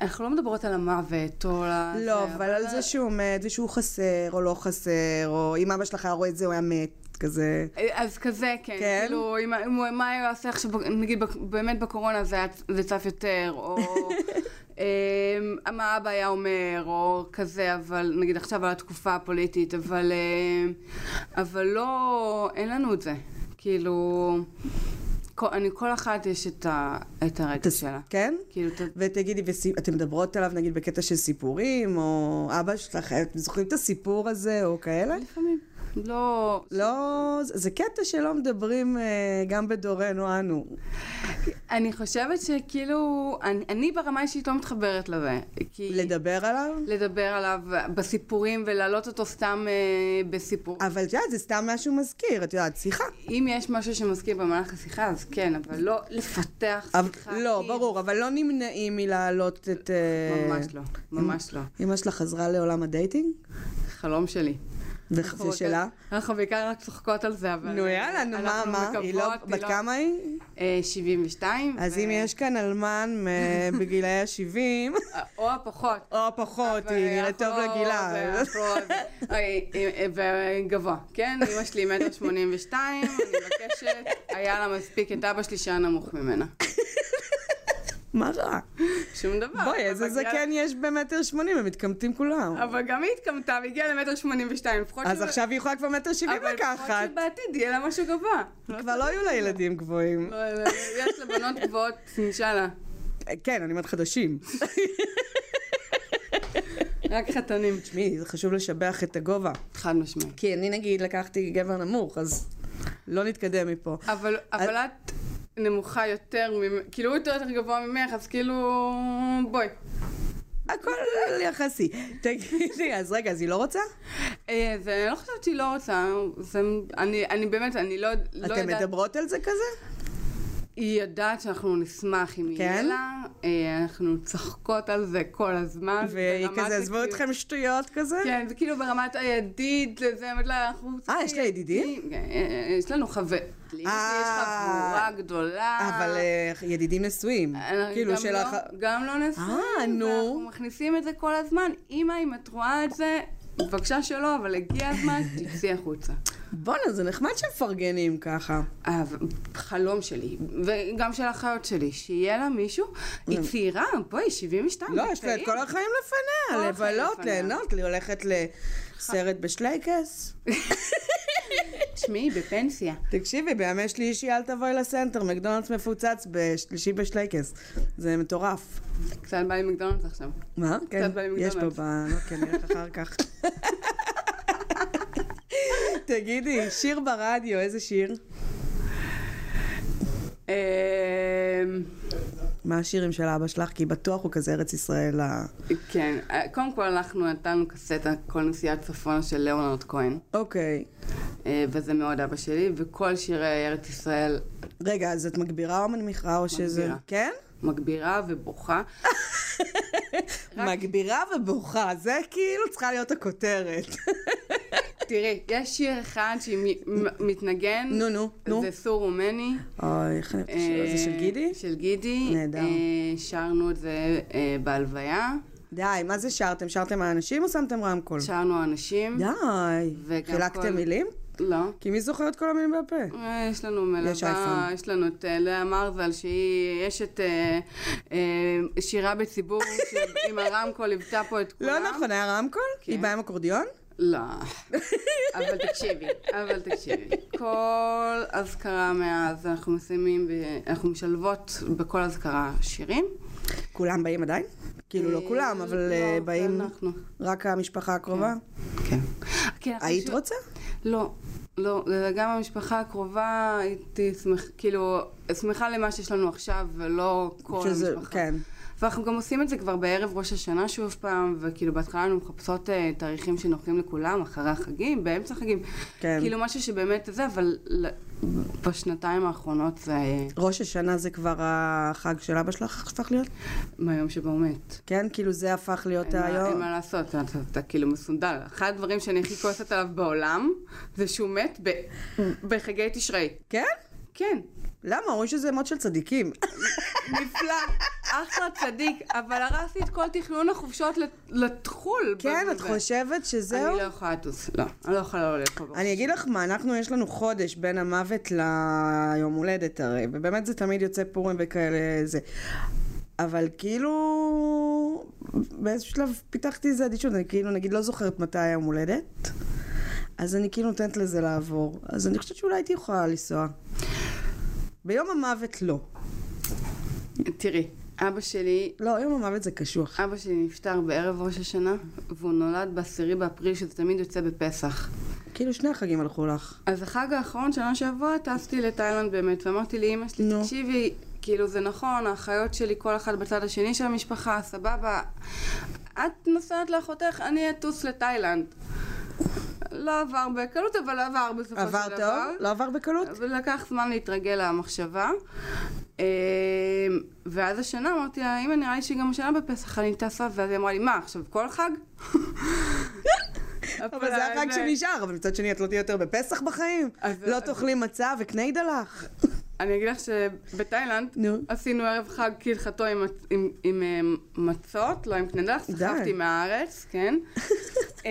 Speaker 4: אנחנו לא מדברות על המוות, או על... אה, ה-
Speaker 3: לא, אבל על זה שהוא מת, ושהוא חסר, או לא חסר, או אם אבא שלך היה רואה את זה, הוא היה מת, כזה.
Speaker 4: אז כזה, כן.
Speaker 3: כן?
Speaker 4: כאילו, אם, אם הוא, מה הוא יעשה עכשיו, נגיד, בק- באמת בקורונה זה, היה- זה צף יותר, או אה, מה אבא היה אומר, או כזה, אבל נגיד עכשיו על התקופה הפוליטית, אבל, אה, אבל לא, אין לנו את זה. כאילו, כל, אני, כל אחת יש את, ה, את הרגע שלה.
Speaker 3: כן?
Speaker 4: כאילו, את ה-
Speaker 3: ותגידי, וסי- אתם מדברות עליו נגיד בקטע של סיפורים, או אבא שלך, אתם זוכרים את הסיפור הזה, או כאלה?
Speaker 4: לפעמים, לא,
Speaker 3: לא, זה זה קטע שלא מדברים אה, גם בדורנו אנו.
Speaker 4: אני חושבת שכאילו, אני, אני ברמה אישית לא מתחברת לזה. כי...
Speaker 3: לדבר עליו?
Speaker 4: לדבר עליו בסיפורים ולהעלות אותו סתם אה, בסיפור.
Speaker 3: אבל את יודעת, זה סתם משהו מזכיר, את יודעת, שיחה.
Speaker 4: אם יש משהו שמזכיר במהלך השיחה, אז כן, אבל לא לפתח
Speaker 3: אבל-
Speaker 4: שיחה.
Speaker 3: לא,
Speaker 4: כי-
Speaker 3: ברור, אבל לא נמנעים מלהעלות את... אה,
Speaker 4: ממש לא, ממש לא.
Speaker 3: אמא שלך חזרה לעולם הדייטינג?
Speaker 4: חלום שלי.
Speaker 3: וחצי שלה?
Speaker 4: אנחנו בעיקר רק צוחקות על זה, נכון, אבל... אה,
Speaker 3: נו יאללה, נו מה,
Speaker 4: אנחנו
Speaker 3: מה? היא לא...
Speaker 4: מקוות, היא
Speaker 3: בת
Speaker 4: לא-
Speaker 3: כמה היא?
Speaker 4: אה, 72.
Speaker 3: אז
Speaker 4: ו-
Speaker 3: אם יש כאן אלמן אה, בגילאי ה-70,
Speaker 4: או הפחות.
Speaker 3: או פחות, היא נראית טוב לגילה.
Speaker 4: אה, וגבוה, כן? אמא שלי מטר שמונים ושתיים, אני מבקשת, היה לה מספיק את אבא שלי שהיה נמוך ממנה.
Speaker 3: מה רע?
Speaker 4: שום
Speaker 3: בואי,
Speaker 4: דבר. לא,
Speaker 3: כן-
Speaker 4: אבל
Speaker 3: איזה
Speaker 4: בגלל-
Speaker 3: זקן יש במטר שמונים, הם מתקמטים כולם.
Speaker 4: אבל גם היא התקמתה והגיעה למטר שמונים ושתיים. לפחות
Speaker 3: אז
Speaker 4: שב-
Speaker 3: עכשיו היא יכולה כבר מטר שבעים
Speaker 4: אבל לפחות
Speaker 3: לקחת.
Speaker 4: שבעתיד יהיה לה משהו גבוה.
Speaker 3: כבר לא היו לה ילדים גבוהים.
Speaker 4: לא, לא, לא, יש לבנות גבוהות, אינשאללה.
Speaker 3: כן, אני אומרת חדשים.
Speaker 4: רק חתנים.
Speaker 3: תשמעי, זה חשוב לשבח את הגובה.
Speaker 4: חד משמעית.
Speaker 3: כי אני נגיד לקחתי גבר נמוך, אז לא נתקדם מפה.
Speaker 4: אבל אבל את נמוכה יותר, ממ- כאילו הוא יותר יותר גבוה ממך, אז כאילו... בואי.
Speaker 3: הכל יחסי. תגידי, אז רגע, אז היא לא רוצה?
Speaker 4: אה, ואני לא חושבת שהיא לא רוצה, זה- אני אני באמת, אני לא לא
Speaker 3: אתן
Speaker 4: יודעת...
Speaker 3: מדברות על זה כזה?
Speaker 4: היא יודעת שאנחנו נשמח אם יהיה
Speaker 3: כן?
Speaker 4: לה, אה, אנחנו צוחקות על זה כל הזמן.
Speaker 3: והיא
Speaker 4: ברמת
Speaker 3: כזה, עזבו
Speaker 4: הכאילו-
Speaker 3: אתכם שטויות כזה?
Speaker 4: כן, זה כאילו ברמת הידיד, זה אומרת לה, אנחנו...
Speaker 3: אה, יש לה ידידים? אה.
Speaker 4: כן, אה, יש לנו חבר. יש חבורה גדולה.
Speaker 3: אבל אה, ידידים נשואים.
Speaker 4: אה,
Speaker 3: כאילו
Speaker 4: גם
Speaker 3: של
Speaker 4: לא-
Speaker 3: הח...
Speaker 4: גם לא נשואים.
Speaker 3: אה, נו.
Speaker 4: ואנחנו מכניסים את זה כל הזמן. אמא, אם את רואה את זה, בבקשה שלא, אבל הגיע הזמן, תצאי החוצה.
Speaker 3: בואנה, זה נחמד שמפרגנים ככה.
Speaker 4: אה, חלום שלי, וגם של החיות שלי, שיהיה לה מישהו. היא צעירה, בואי, 72.
Speaker 3: לא,
Speaker 4: זה
Speaker 3: יש לה את
Speaker 4: צעיר.
Speaker 3: כל החיים
Speaker 4: כל
Speaker 3: לפניה,
Speaker 4: החיים
Speaker 3: לבלות,
Speaker 4: לפניה.
Speaker 3: ליהנות, היא הולכת לסרט בשלייקס.
Speaker 4: תשמעי, בפנסיה.
Speaker 3: תקשיבי, בימי שלישי אל תבואי לסנטר, מקדונלדס מפוצץ בשלישי בשלייקס. זה מטורף.
Speaker 4: קצת בא לי מקדונלדס עכשיו.
Speaker 3: מה? כן,
Speaker 4: בא לי
Speaker 3: יש פה
Speaker 4: מקדונלדס.
Speaker 3: ב... לא, כן, נלך אחר כך. תגידי, שיר ברדיו, איזה שיר?
Speaker 4: אמ,
Speaker 3: אה, מה השירים של אבא שלך? כי בטוח הוא כזה ארץ ישראל ה...
Speaker 4: כן, אה, קודם כל אנחנו נתנו קסטה כל נסיעת צפונה של ליאונרד כהן,
Speaker 3: אוקיי.
Speaker 4: אה, וזה מאוד אבא שלי, וכל שירי ארץ ישראל
Speaker 3: רגע, אז את מגבירה או מנמיכה או שזה...
Speaker 4: מגבירה.
Speaker 3: כן?
Speaker 4: מגבירה ובוכה.
Speaker 3: מגבירה ובוכה, זה כאילו צריכה להיות הכותרת.
Speaker 4: תראי, יש שיר אחד שמתנגן,
Speaker 3: נו, נו, נו.
Speaker 4: זה סור רומני.
Speaker 3: אוי, איך אני אוהבת את השיר הזה של
Speaker 4: אה,
Speaker 3: גידי?
Speaker 4: של גידי.
Speaker 3: נהדר.
Speaker 4: אה, שרנו את זה אה, בהלוויה,
Speaker 3: די, מה זה שרתם? שרתם האנשים או שמתם רמקול?
Speaker 4: שרנו אנשים.
Speaker 3: די.
Speaker 4: וגם כל-
Speaker 3: חילקתם מילים?
Speaker 4: לא.
Speaker 3: כי מי זוכר את כל המילים בפה?
Speaker 4: אה, יש לנו
Speaker 3: יש אייפון.
Speaker 4: מלווה, יש לנו את אה, לאה מרזל, שהיא, יש את אה, אה, שירה בציבור, שעם הרמקול ליוותה פה את כולם. כן.
Speaker 3: לא נכון, היה רמקול? היא באה עם אקורדיון?
Speaker 4: לא. אבל תקשיבי, אבל תקשיבי. כל אזכרה מאז, אנחנו מסיימים, ב- אנחנו משלבות בכל אזכרה שירים.
Speaker 3: כולם באים עדיין? כאילו לא
Speaker 4: אה,
Speaker 3: כולם, אבל
Speaker 4: לא,
Speaker 3: אה,
Speaker 4: זה
Speaker 3: באים
Speaker 4: אנחנו.
Speaker 3: רק המשפחה הקרובה?
Speaker 4: כן. כי אנחנו
Speaker 3: היית
Speaker 4: ש-
Speaker 3: רוצה?
Speaker 4: לא, לא, זה גם המשפחה הקרובה, הייתי שמחה, כאילו, שמחה למה שיש לנו עכשיו, ולא כל
Speaker 3: שזה-
Speaker 4: המשפחה.
Speaker 3: כן.
Speaker 4: ואנחנו גם עושים את זה כבר בערב ראש השנה שוב פעם, וכאילו בהתחלה אנחנו מחפשות אה, תאריכים שנוחים לכולם, אחרי החגים, באמצע החגים.
Speaker 3: כן.
Speaker 4: כאילו משהו שבאמת זה, אבל ל- בשנתיים האחרונות זה
Speaker 3: ראש השנה זה כבר החג של אבא שלך הפך להיות?
Speaker 4: מהיום שבו הוא מת.
Speaker 3: כן, כאילו זה הפך להיות
Speaker 4: אין מה- אין
Speaker 3: היום.
Speaker 4: מה לעשות, אתה, אתה, אתה כאילו מסונדל. אחד הדברים שאני הכי כועסת עליו בעולם, זה שהוא מת ב, בחגי תשרי.
Speaker 3: כן?
Speaker 4: כן,
Speaker 3: למה? אומרים שזה מות של צדיקים.
Speaker 4: נפלא, אחלה צדיק, אבל הרס לי את כל תכנון החופשות לת- לתחול.
Speaker 3: כן,
Speaker 4: בזה.
Speaker 3: את חושבת שזהו?
Speaker 4: אני לא יכולה לטוס, לא, אני לא יכולה לא לפה.
Speaker 3: אני אגיד לך מה, אנחנו, יש לנו חודש בין המוות ליום הולדת הרי, ובאמת זה תמיד יוצא פורים וכאלה זה. אבל כאילו, באיזשהו שלב פיתחתי איזה אדישות, אני כאילו, נגיד, לא זוכרת מתי היום הולדת, אז אני כאילו נותנת לזה לעבור. אז אני חושבת שאולי הייתי יכולה לנסוע. ביום המוות לא.
Speaker 4: תראי, אבא שלי
Speaker 3: לא, יום המוות זה קשוח.
Speaker 4: אבא שלי נפטר בערב ראש השנה, והוא נולד ב-10 באפריל, שזה תמיד יוצא בפסח.
Speaker 3: כאילו, שני החגים הלכו לך.
Speaker 4: אז החג האחרון שנה שעברה טסתי לתאילנד באמת, ואמרתי לאימא שלי,
Speaker 3: נו.
Speaker 4: תקשיבי, כאילו זה נכון, האחיות שלי כל אחת בצד השני של המשפחה, סבבה. את נוסעת לאחותך, אני אטוס לתאילנד. לא עבר בקלות, אבל עבר בסופו של דבר.
Speaker 3: עבר טוב? לא עבר בקלות?
Speaker 4: ולקח זמן להתרגל למחשבה. אמ, ואז השנה אמרתי לה, אמא נראה לי שגם השנה בפסח אני טסה, ואז היא אמרה לי, מה עכשיו כל חג?
Speaker 3: אבל זה החג שנשאר, אבל מצד שני את לא תהיי יותר בפסח בחיים?
Speaker 4: אז-
Speaker 3: לא
Speaker 4: אז-
Speaker 3: תאכלי מצה וקניידה לך?
Speaker 4: אני אגיד לך שבתאילנד
Speaker 3: נו.
Speaker 4: עשינו ערב חג כהלכתו עם, מצ- עם, עם אמ, מצות, לא עם קנדח,
Speaker 3: די.
Speaker 4: סחבתי מהארץ, כן? אמ,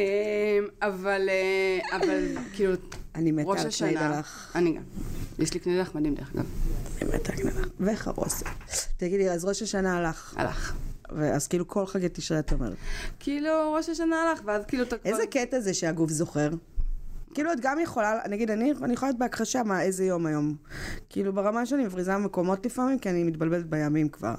Speaker 4: אבל, אה, אבל כאילו,
Speaker 3: אני מתה
Speaker 4: ראש
Speaker 3: על
Speaker 4: השנה,
Speaker 3: קניידלח.
Speaker 4: אני גם. יש לי קנדח מדהים דרך אגב,
Speaker 3: אני מתה על קניידלח. וחרוסת. תגידי, אז ראש השנה הלך.
Speaker 4: הלך.
Speaker 3: אז כאילו כל חגי תשרי את אומרת.
Speaker 4: כאילו ראש השנה הלך, ואז כאילו אתה כבר...
Speaker 3: איזה קטע זה שהגוף זוכר? כאילו את גם יכולה, נגיד אני, אני יכולה להיות בהכחשה מה, איזה יום היום. כאילו ברמה שאני מבריזה מקומות לפעמים, כי אני מתבלבלת בימים כבר.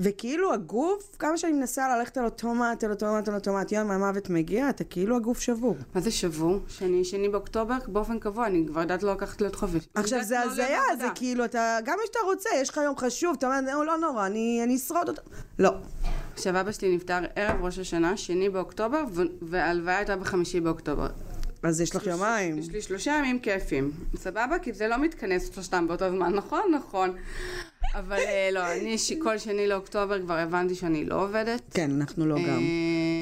Speaker 3: וכאילו הגוף, כמה שאני מנסה ללכת על אוטומט, על אוטומט, על אוטומט, יום המוות מגיע, אתה כאילו הגוף שבור.
Speaker 4: מה זה שבור? שאני שני באוקטובר באופן קבוע, אני כבר יודעת לא לקחת להיות חופש.
Speaker 3: עכשיו זה
Speaker 4: לא
Speaker 3: הזיה, זה כאילו אתה, גם אם אתה רוצה, יש לך יום חשוב, אתה אומר, "נו, לא נורא, אני אני אשרוד אותו. לא.
Speaker 4: עכשיו אבא שלי נפטר ערב ראש השנה, שני באוקטובר, ו- וההלוויה הייתה בחמישי באוקטובר.
Speaker 3: אז יש לך יומיים.
Speaker 4: יש לי שלושה ימים כיפים. סבבה? כי זה לא מתכנס שלושתם באותו זמן, נכון? נכון. אבל אה, לא, אני ש- כל שני לאוקטובר כבר הבנתי שאני לא עובדת.
Speaker 3: כן, אנחנו לא גם.
Speaker 4: אה,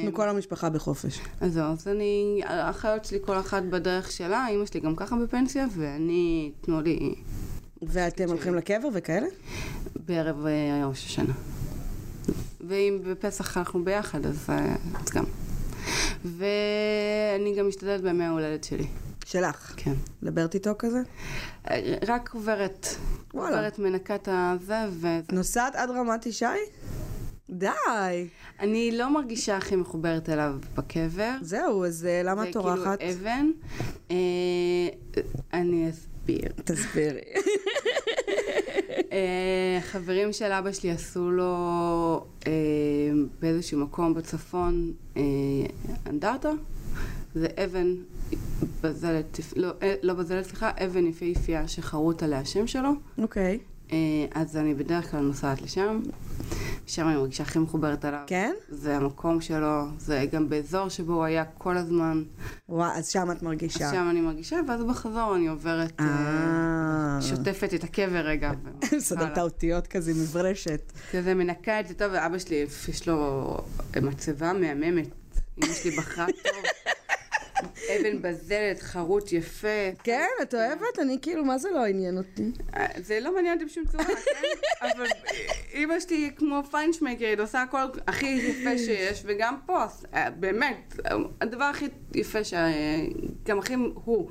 Speaker 3: אנחנו כל המשפחה בחופש.
Speaker 4: אז זהו, אז אני, האחיות שלי כל אחת בדרך שלה, אימא שלי גם ככה בפנסיה, ואני, תנו לי,
Speaker 3: ואתם הולכים לקבר וכאלה?
Speaker 4: בערב אה, ראש השנה. ואם בפסח אנחנו ביחד, אז אה, אז גם. ואני גם משתדלת בימי ההולדת שלי.
Speaker 3: שלך.
Speaker 4: כן.
Speaker 3: מדברת איתו כזה?
Speaker 4: אה, רק עוברת.
Speaker 3: וואלה.
Speaker 4: עוברת מנקת הזה, ו...
Speaker 3: נוסעת עד רמת ישי? די.
Speaker 4: אני לא מרגישה הכי מחוברת אליו בקבר.
Speaker 3: זהו, אז אה, למה את טורחת?
Speaker 4: זה כאילו אבן. אה, אני אסביר.
Speaker 3: תסבירי.
Speaker 4: אה, חברים של אבא שלי עשו לו אה, באיזשהו מקום בצפון אה, אנדרטה. זה אבן בזלת, לא, אה, לא בזלת, סליחה, אבן יפהפייה שחרוט עליה השם שלו.
Speaker 3: אוקיי.
Speaker 4: אה, אז אני בדרך כלל נוסעת לשם. שם אני מרגישה הכי מחוברת אליו.
Speaker 3: כן?
Speaker 4: זה המקום שלו, זה גם באזור שבו הוא היה כל הזמן.
Speaker 3: וואי, אז שם את מרגישה.
Speaker 4: אז שם אני מרגישה, ואז בחזור אני עוברת, אה,
Speaker 3: אה...
Speaker 4: שוטפת את הקבר רגע. וממשיכה
Speaker 3: מסדר את
Speaker 4: הלאה.
Speaker 3: האותיות כזה מברשת.
Speaker 4: כזה מנקה את זה טוב, ואבא שלי, יש לו מצבה מהממת. אמא שלי בחרה טוב. אבן בזלת, חרוט יפה.
Speaker 3: כן, את אוהבת? אני כאילו, מה זה לא עניין אותי?
Speaker 4: אה, זה לא מעניין אותי בשום צורה, כן? אבל אמא שלי היא כמו פיינשמקרית, עושה הכל הכי יפה שיש, וגם פה, אה, באמת, הדבר הכי יפה, שה- גם הכי הוא.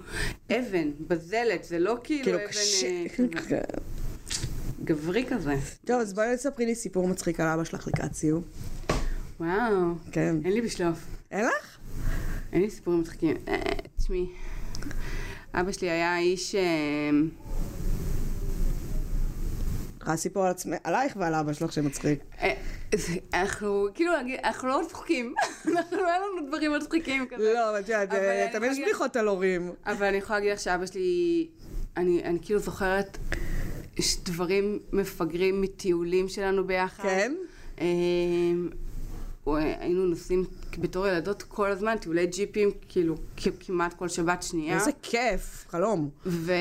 Speaker 4: אבן, בזלת, זה לא כאילו
Speaker 3: כאילו,
Speaker 4: אבן אה,
Speaker 3: קשה.
Speaker 4: כזה גברי כזה.
Speaker 3: טוב, אז בואי תספרי לי סיפור מצחיק על אבא שלך לקראת סיום.
Speaker 4: וואו,
Speaker 3: כן.
Speaker 4: אין לי בשלוף.
Speaker 3: אין לך?
Speaker 4: אין לי סיפורים מצחיקים. אה, תשמעי, אבא שלי היה איש... אה,
Speaker 3: רק סיפור על עצמך, עלייך ועל אבא שלך שמצחיק.
Speaker 4: אה, זה- אנחנו, כאילו, אנחנו לא מצחיקים. אנחנו, אין לנו דברים מצחיקים כזה.
Speaker 3: לא, אבל את יודעת,
Speaker 4: אבל
Speaker 3: אה,
Speaker 4: אני
Speaker 3: תמיד יש
Speaker 4: חושבת-
Speaker 3: בדיחות על הורים.
Speaker 4: אבל אני יכולה להגיד לך שאבא שלי, אני, אני כאילו זוכרת ש- דברים מפגרים מטיולים שלנו ביחד.
Speaker 3: כן?
Speaker 4: אמ, הוא- אה, היינו נוסעים בתור ילדות כל הזמן, טיולי ג'יפים, כאילו כ- כמעט כל שבת שנייה.
Speaker 3: איזה כיף, חלום.
Speaker 4: ו...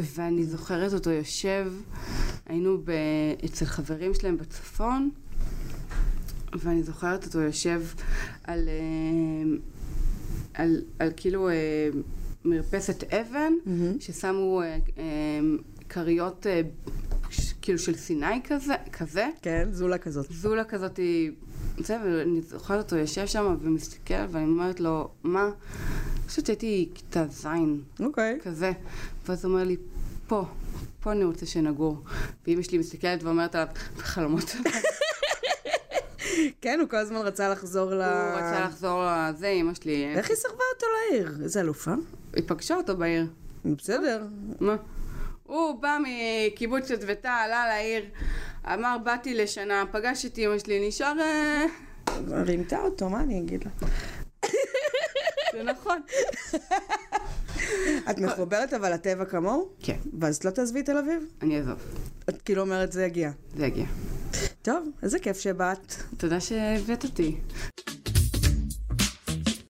Speaker 4: ואני זוכרת אותו יושב, היינו ב... אצל חברים שלהם בצפון, ואני זוכרת אותו יושב על, אה, על, על כאילו אה, מרפסת אבן,
Speaker 3: מהמם.
Speaker 4: ששמו אה, אה, כריות אה, ש- כאילו של סיני כזה, כזה.
Speaker 3: כן, זולה כזאת.
Speaker 4: זולה כזאת, היא- זה, ואני זוכרת אותו יושב שם ומסתכל, ואני אומרת לו, מה? אני חושבת שהייתי כיתה ז',
Speaker 3: אוקיי.
Speaker 4: כזה. ואז הוא אומר לי, פה, פה אני רוצה שנגור. ואימא שלי מסתכלת ואומרת עליו, בחלומות.
Speaker 3: כן, הוא כל הזמן רצה לחזור ל...
Speaker 4: הוא רצה לחזור לזה, אימא שלי,
Speaker 3: איך היא סרבה אותו לעיר? איזה אלופה.
Speaker 4: היא פגשה אותו בעיר.
Speaker 3: בסדר.
Speaker 4: מה? הוא בא מקיבוץ שדבתה, עלה לעיר, אמר, באתי לשנה, פגש את אימא שלי, נשאר... אה,
Speaker 3: רימתה אותו, מה אני אגיד לה?
Speaker 4: זה נכון.
Speaker 3: את מחוברת אבל לטבע כמוהו?
Speaker 4: כן,
Speaker 3: ואז לא תעזבי את תל אביב?
Speaker 4: אני אעזוב.
Speaker 3: את כאילו אומרת זה יגיע.
Speaker 4: זה יגיע.
Speaker 3: טוב, איזה כיף שבאת.
Speaker 4: תודה שהבאת אותי.